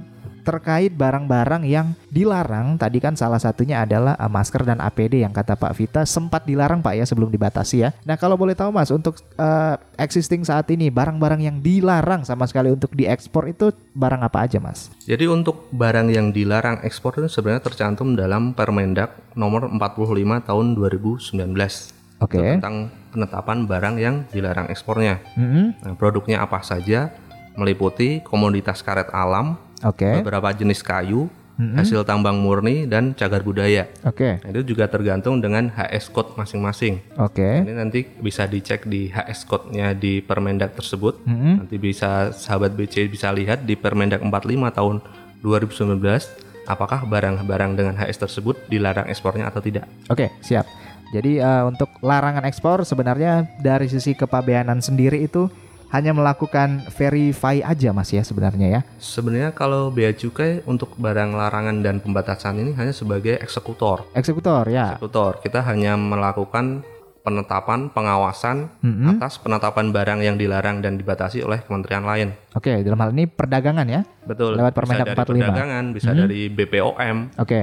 [SPEAKER 3] terkait barang-barang yang dilarang tadi kan salah satunya adalah eh, masker dan APD yang kata Pak Vita sempat dilarang Pak ya sebelum dibatasi ya. Nah kalau boleh tahu Mas untuk eh, existing saat ini barang-barang yang dilarang sama sekali untuk diekspor itu barang apa aja Mas?
[SPEAKER 5] Jadi untuk barang yang dilarang ekspor itu sebenarnya tercantum dalam Permendak nomor 45 tahun 2019
[SPEAKER 3] Oke.
[SPEAKER 5] tentang penetapan barang yang dilarang ekspornya.
[SPEAKER 3] Mm-mm.
[SPEAKER 5] Nah, produknya apa saja? Meliputi komoditas karet alam,
[SPEAKER 3] Oke.
[SPEAKER 5] beberapa jenis kayu, hasil tambang murni dan cagar budaya.
[SPEAKER 3] Oke.
[SPEAKER 5] Nah, itu juga tergantung dengan HS code masing-masing.
[SPEAKER 3] Oke.
[SPEAKER 5] Ini nanti bisa dicek di HS code-nya di Permendak tersebut.
[SPEAKER 3] Mm-mm.
[SPEAKER 5] Nanti bisa sahabat BC bisa lihat di Permendak 45 tahun 2019 apakah barang-barang dengan HS tersebut dilarang ekspornya atau tidak.
[SPEAKER 3] Oke, siap. Jadi eh, untuk larangan ekspor sebenarnya dari sisi kepabeanan sendiri itu hanya melakukan verify aja Mas ya sebenarnya ya.
[SPEAKER 5] Sebenarnya kalau bea cukai untuk barang larangan dan pembatasan ini hanya sebagai eksekutor.
[SPEAKER 3] Eksekutor ya.
[SPEAKER 5] Eksekutor, kita hanya melakukan penetapan pengawasan
[SPEAKER 3] Mm-mm.
[SPEAKER 5] atas penetapan barang yang dilarang dan dibatasi oleh kementerian lain.
[SPEAKER 3] Oke, dalam hal ini perdagangan ya.
[SPEAKER 5] Betul.
[SPEAKER 3] Lewat Permendak
[SPEAKER 5] bisa dari
[SPEAKER 3] 45.
[SPEAKER 5] perdagangan, bisa dari BPOM,
[SPEAKER 3] Oke.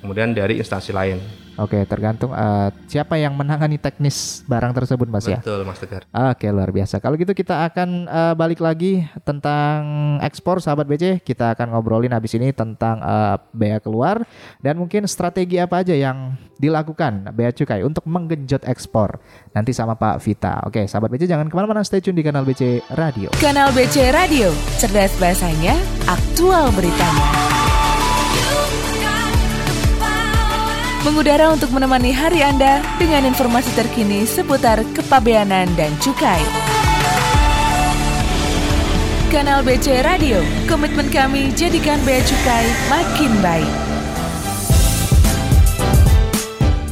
[SPEAKER 5] kemudian dari instansi lain.
[SPEAKER 3] Oke, tergantung eh, siapa yang menangani teknis barang tersebut Mas ya.
[SPEAKER 5] Betul, Mas Tegar.
[SPEAKER 3] Oke, luar biasa. Kalau gitu kita akan eh, balik lagi tentang ekspor sahabat BC. Kita akan ngobrolin habis ini tentang eh, bea keluar dan mungkin strategi apa aja yang dilakukan bea cukai untuk menggenjot ekspor. Nanti sama Pak Vita. Oke, sahabat BC jangan kemana-mana stay tune di kanal BC Radio.
[SPEAKER 6] Kanal BC Radio, cerdas bahasanya, aktual beritanya. Mengudara untuk menemani hari Anda dengan informasi terkini seputar kepabeanan dan cukai. Kanal BC Radio, komitmen kami jadikan bea cukai makin baik.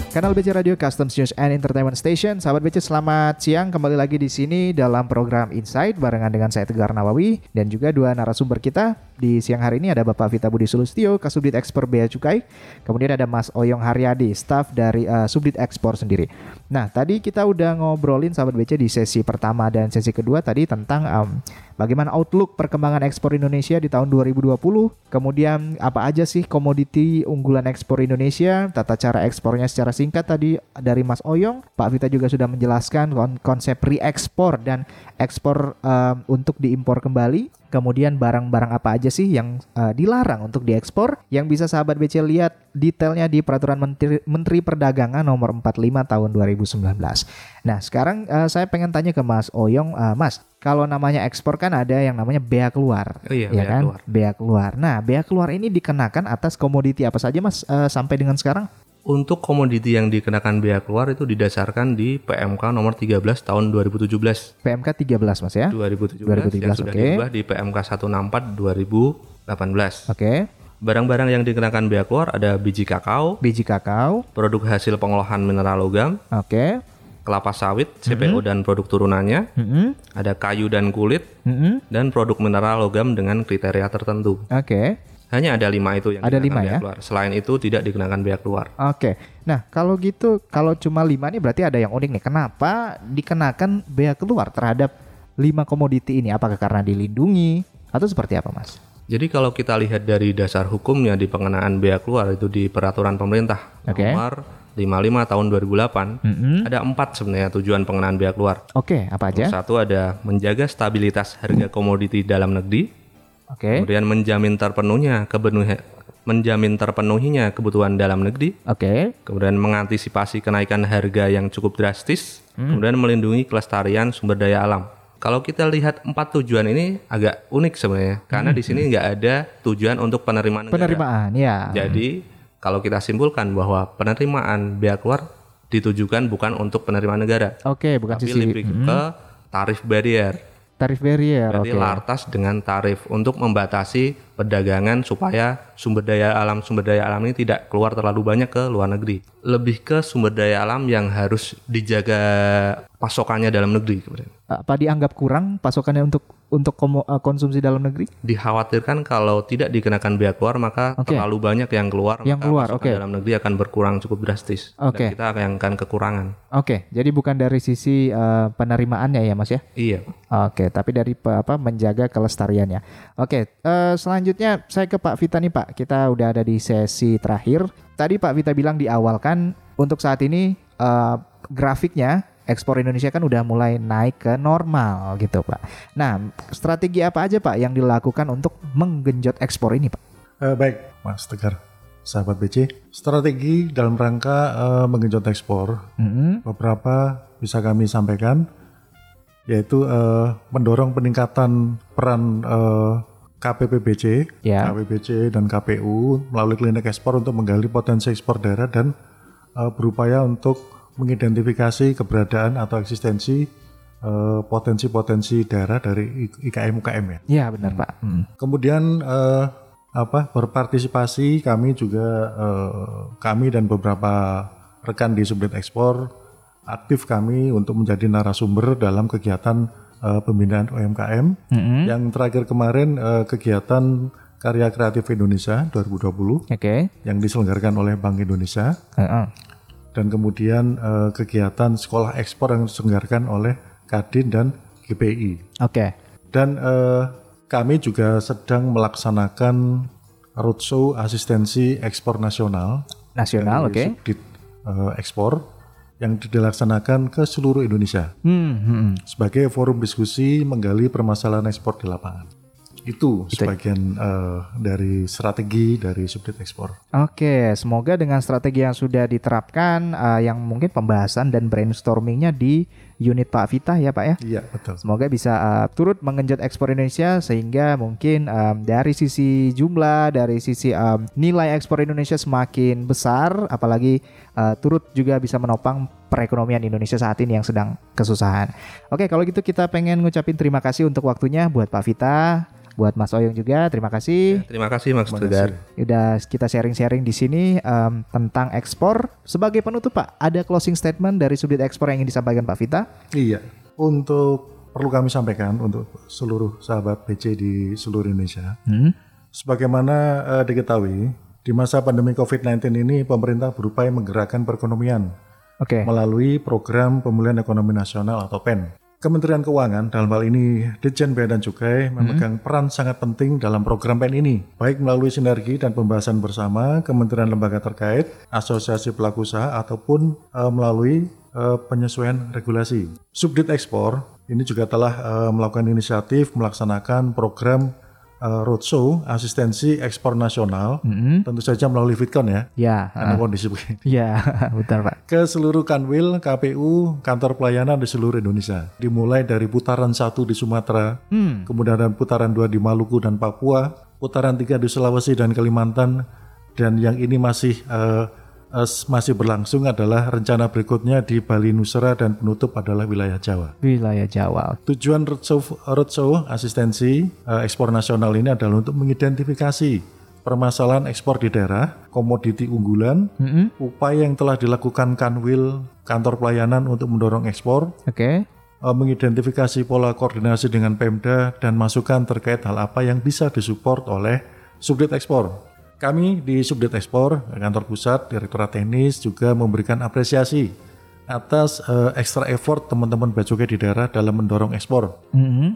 [SPEAKER 3] Kanal BC Radio Customs News and Entertainment Station. Sahabat BC selamat siang kembali lagi di sini dalam program Insight barengan dengan saya Tegar Nawawi dan juga dua narasumber kita di siang hari ini ada Bapak Vita Budi Sulistyo, Kasubdit Ekspor Bea Cukai. Kemudian ada Mas Oyong Haryadi, staf dari eh, Subdit Ekspor sendiri. Nah, tadi kita udah ngobrolin sahabat BC di sesi pertama dan sesi kedua tadi tentang em, bagaimana outlook perkembangan ekspor Indonesia di tahun 2020. Kemudian apa aja sih komoditi unggulan ekspor Indonesia, tata cara ekspornya secara singkat tadi dari Mas Oyong. Pak Vita juga sudah menjelaskan kon- konsep re-ekspor dan ekspor em, untuk eh, diimpor kembali. Kemudian barang-barang apa aja sih yang eh, dilarang untuk diekspor? Yang bisa sahabat BC lihat detailnya di Peraturan Menteri, Menteri Perdagangan Nomor 45 Tahun 2019. Nah sekarang eh, saya pengen tanya ke Mas Oyong, Eh, Mas kalau namanya ekspor kan ada yang namanya bea keluar,
[SPEAKER 5] Oh
[SPEAKER 3] ya
[SPEAKER 5] iya, bea
[SPEAKER 3] kan?
[SPEAKER 5] keluar.
[SPEAKER 3] Bea keluar. Nah bea keluar ini dikenakan atas komoditi apa saja Mas eh, sampai dengan sekarang?
[SPEAKER 5] Untuk komoditi yang dikenakan bea keluar itu didasarkan di PMK nomor 13 tahun 2017.
[SPEAKER 3] PMK 13 Mas ya? 2017,
[SPEAKER 5] 2017, yang sudah
[SPEAKER 3] oke.
[SPEAKER 5] diubah di PMK 164 2018.
[SPEAKER 3] Oke.
[SPEAKER 5] Barang-barang yang dikenakan bea keluar ada biji kakao,
[SPEAKER 3] Biji kakao.
[SPEAKER 5] produk hasil pengolahan mineral logam,
[SPEAKER 3] Oke.
[SPEAKER 5] kelapa sawit,
[SPEAKER 3] Mhm.
[SPEAKER 5] CPO dan produk turunannya,
[SPEAKER 3] Mm-mm.
[SPEAKER 5] ada kayu dan kulit,
[SPEAKER 3] Mm-mm.
[SPEAKER 5] dan produk mineral logam dengan kriteria tertentu.
[SPEAKER 3] Oke.
[SPEAKER 5] Hanya ada lima itu yang
[SPEAKER 3] Ada
[SPEAKER 5] dikenakan
[SPEAKER 3] lima
[SPEAKER 5] bea
[SPEAKER 3] ya?
[SPEAKER 5] keluar. Selain itu tidak dikenakan bea keluar.
[SPEAKER 3] Oke. Nah, kalau gitu kalau cuma lima nih berarti ada yang unik nih. Kenapa dikenakan bea keluar terhadap lima komoditi ini? Apakah karena dilindungi atau seperti apa, Mas?
[SPEAKER 5] Jadi kalau kita lihat dari dasar hukumnya di pengenaan bea keluar itu di peraturan pemerintah
[SPEAKER 3] Oke.
[SPEAKER 5] nomor 55 tahun 2008
[SPEAKER 3] Mm-mm. Ya.
[SPEAKER 5] ada empat sebenarnya tujuan pengenaan bea keluar.
[SPEAKER 3] Oke, apa aja?
[SPEAKER 5] Satu ada menjaga stabilitas harga komoditi dalam negeri,
[SPEAKER 3] Oke.
[SPEAKER 5] kemudian menjamin terpenuhnya kebenuhi- menjamin terpenuhinya kebutuhan dalam negeri,
[SPEAKER 3] Oke.
[SPEAKER 5] kemudian mengantisipasi kenaikan harga yang cukup drastis, kemudian melindungi kelestarian sumber daya alam. Kalau kita lihat empat tujuan ini agak unik sebenarnya, karena di sini nggak ada tujuan untuk penerimaan negara.
[SPEAKER 3] Penerimaan, ya.
[SPEAKER 5] Jadi kalau kita simpulkan bahwa penerimaan bea keluar ditujukan bukan untuk penerimaan negara,
[SPEAKER 3] Oke, bukan
[SPEAKER 5] tapi
[SPEAKER 3] sisi
[SPEAKER 5] lebih ke tarif barrier.
[SPEAKER 3] tarif barrier.
[SPEAKER 5] Berarti
[SPEAKER 3] Oke.
[SPEAKER 5] lartas dengan tarif untuk membatasi perdagangan supaya sumber daya alam sumber daya alam ini tidak keluar terlalu banyak ke luar negeri. Lebih ke sumber daya alam yang harus dijaga pasokannya dalam negeri. kemudian.
[SPEAKER 3] Apa dianggap kurang pasokannya untuk untuk komo- eh, konsumsi dalam negeri?
[SPEAKER 5] Dikhawatirkan kalau tidak dikenakan bea keluar maka
[SPEAKER 3] Oke.
[SPEAKER 5] terlalu banyak yang keluar
[SPEAKER 3] Yang
[SPEAKER 5] maka
[SPEAKER 3] keluar,
[SPEAKER 5] pasokan
[SPEAKER 3] oke.
[SPEAKER 5] dalam negeri akan berkurang cukup drastis.
[SPEAKER 3] Oke.
[SPEAKER 5] Dan kita akan akan kekurangan.
[SPEAKER 3] Oke, jadi bukan dari sisi eh, penerimaannya ya, Mas ya?
[SPEAKER 5] Iya.
[SPEAKER 3] Oke, tapi dari pe- apa menjaga kelestariannya. Oke, eh, selanjutnya saya ke Pak Vita nih Pak. Kita udah ada di sesi terakhir. Tadi Pak Vita bilang di awal kan untuk saat ini eh, grafiknya ekspor Indonesia kan udah mulai naik ke normal gitu Pak. Nah, strategi apa aja Pak yang dilakukan untuk menggenjot ekspor ini Pak?
[SPEAKER 4] Eh, baik, Mas Tegar, sahabat BC. Strategi dalam rangka eh, menggenjot ekspor
[SPEAKER 3] Mm-mm.
[SPEAKER 4] beberapa bisa kami sampaikan yaitu eh, mendorong peningkatan peran eh, KPPBC,
[SPEAKER 3] Ya.
[SPEAKER 4] KPBC dan KPU melalui klinik ekspor untuk menggali potensi ekspor daerah dan eh, berupaya untuk mengidentifikasi keberadaan atau eksistensi eh, potensi-potensi daerah dari IKM-UKM ya.
[SPEAKER 3] Ya benar Pak. Mm.
[SPEAKER 4] Kemudian eh, apa berpartisipasi kami juga eh, kami dan beberapa rekan di Subdit Ekspor aktif kami untuk menjadi narasumber dalam kegiatan eh, pembinaan UMKM.
[SPEAKER 3] Mm-mm.
[SPEAKER 4] Yang terakhir kemarin eh, kegiatan Karya Kreatif Indonesia 2020
[SPEAKER 3] Oke.
[SPEAKER 4] yang diselenggarakan oleh Bank Indonesia
[SPEAKER 3] Heeh.
[SPEAKER 4] dan kemudian eh, kegiatan sekolah ekspor yang diselenggarakan oleh Kadin dan GPI.
[SPEAKER 3] Oke.
[SPEAKER 4] Dan eh, kami juga sedang melaksanakan roadshow asistensi ekspor nasional
[SPEAKER 3] Nasional, oke.
[SPEAKER 4] dari Subdit, eh, ekspor yang dilaksanakan ke seluruh Indonesia
[SPEAKER 3] Hmm, hmm.
[SPEAKER 4] sebagai forum diskusi menggali permasalahan ekspor di lapangan. Itu
[SPEAKER 3] ya.
[SPEAKER 4] sebagian eh, dari strategi dari subdit ekspor.
[SPEAKER 3] Oke, semoga dengan strategi yang sudah diterapkan, eh, yang mungkin pembahasan dan brainstormingnya di unit Pak Vita ya Pak ya.
[SPEAKER 4] Iya betul.
[SPEAKER 3] Semoga bisa eh, turut mengenjot ekspor Indonesia sehingga mungkin em, dari sisi jumlah, dari sisi em, nilai ekspor Indonesia semakin besar, apalagi eh, turut juga bisa menopang perekonomian Indonesia saat ini yang sedang kesusahan. Oke, kalau gitu kita pengen ngucapin terima kasih untuk waktunya buat Pak Vita, buat Mas Oyong juga, terima kasih.
[SPEAKER 5] Terima kasih Mas Tegar.
[SPEAKER 3] Udah kita sharing-sharing di sini em, tentang ekspor. Sebagai penutup Pak, ada closing statement dari subdit ekspor yang ingin disampaikan Pak Vita?
[SPEAKER 4] Iya. Untuk perlu kami sampaikan untuk seluruh sahabat BC di seluruh Indonesia. Sebagaimana eh, diketahui, di masa pandemi COVID-19 ini pemerintah berupaya menggerakkan perekonomian
[SPEAKER 3] Oke.
[SPEAKER 4] melalui program pemulihan ekonomi nasional atau PEN. Kementerian Keuangan dalam hal ini Ditjen Bea dan Cukai
[SPEAKER 3] Hmm.
[SPEAKER 4] memegang peran sangat penting dalam program PEN ini, baik melalui sinergi dan pembahasan bersama kementerian lembaga terkait, asosiasi e, pelaku usaha ataupun eh, melalui eh, penyesuaian regulasi. Subdit ekspor Ini juga telah eh, melakukan inisiatif melaksanakan program eh, roadshow asistensi ekspor nasional, tentu saja melalui Fitcon
[SPEAKER 3] Hmm.
[SPEAKER 4] ya,
[SPEAKER 3] Ya,
[SPEAKER 4] karena kondisi begini.
[SPEAKER 3] ya, benar Pak.
[SPEAKER 4] Ke seluruh kanwil, KPU, kantor pelayanan di seluruh Indonesia. Dimulai dari putaran satu di Sumatera, kemudian ada putaran dua di Maluku dan Papua, putaran tiga di Sulawesi dan Kalimantan, dan yang ini masih eh, eh, masih berlangsung adalah rencana berikutnya di Bali Nusra dan penutup adalah wilayah Jawa.
[SPEAKER 3] Wilayah Jawa.
[SPEAKER 4] Tujuan roadshow, roadshow asistensi eh, ekspor nasional ini adalah untuk mengidentifikasi permasalahan ekspor di daerah, komoditi unggulan, upaya yang telah dilakukan Kanwil, kantor pelayanan untuk mendorong ekspor,
[SPEAKER 3] Oke.
[SPEAKER 4] eh, mengidentifikasi pola koordinasi dengan Pemda dan masukan terkait hal apa yang bisa disupport oleh subdit ekspor. Kami di subdit ekspor kantor pusat Direktorat Teknis juga memberikan apresiasi atas eh, extra effort teman-teman bacukai di daerah dalam mendorong ekspor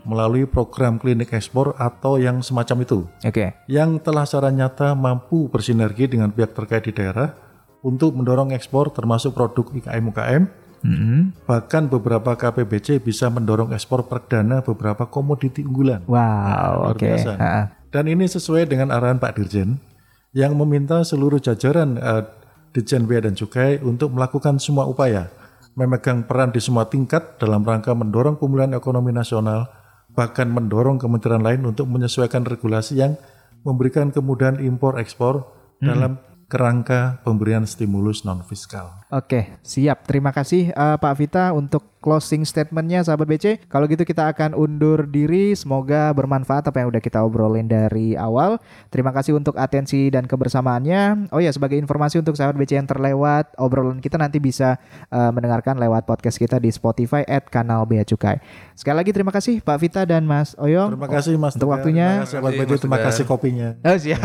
[SPEAKER 4] melalui program klinik ekspor atau yang semacam itu
[SPEAKER 3] Oke.
[SPEAKER 4] yang telah secara nyata mampu bersinergi dengan pihak terkait di daerah untuk mendorong ekspor termasuk produk IKM-UKM. Bahkan beberapa KPBC bisa mendorong ekspor perdana beberapa komoditi unggulan.
[SPEAKER 3] Wow,
[SPEAKER 4] Luar
[SPEAKER 3] oke.
[SPEAKER 4] biasa.
[SPEAKER 3] Ah,
[SPEAKER 4] Dan ini sesuai dengan arahan Pak Dirjen yang meminta seluruh jajaran eh, Dirjen Bea dan Cukai untuk melakukan semua upaya memegang peran di semua tingkat dalam rangka mendorong pemulihan ekonomi nasional bahkan mendorong kementerian lain untuk menyesuaikan regulasi yang memberikan kemudahan impor ekspor
[SPEAKER 3] Hmm.
[SPEAKER 4] dalam kerangka pemberian stimulus non fiskal.
[SPEAKER 3] Oke, siap. Terima kasih eh, Pak Vita untuk closing statementnya, sahabat BC. Kalau gitu kita akan undur diri. Semoga bermanfaat apa yang udah kita obrolin dari awal. Terima kasih untuk atensi dan kebersamaannya. Oh ya, sebagai informasi untuk sahabat BC yang terlewat, obrolan kita nanti bisa eh, mendengarkan lewat podcast kita di Spotify at kanal Bea Cukai. Sekali lagi terima kasih Pak Vita dan Mas Oyong.
[SPEAKER 4] Terima kasih Mas
[SPEAKER 3] Oh, Untuk
[SPEAKER 4] Tegar.
[SPEAKER 3] waktunya.
[SPEAKER 4] Terima kasih Abad
[SPEAKER 5] Terima kasih,
[SPEAKER 4] Bejo.
[SPEAKER 5] Mas
[SPEAKER 4] terima
[SPEAKER 5] Tegar.
[SPEAKER 4] kasih kopinya.
[SPEAKER 3] Oh siap.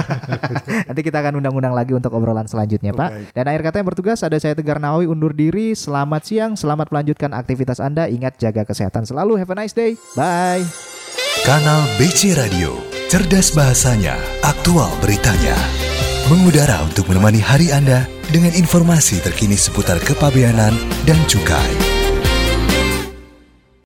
[SPEAKER 3] Nanti kita akan undang-undang lagi untuk obrolan selanjutnya Pak. Dan akhir kata yang bertugas ada saya Tegar Nawawi undur diri. Selamat siang, selamat melanjutkan aktivitas Anda. Ingat jaga kesehatan selalu. Have a nice day. Bye.
[SPEAKER 1] Kanal BC Radio, cerdas bahasanya, aktual beritanya. Mengudara untuk menemani hari Anda dengan informasi terkini seputar kepabeanan dan cukai.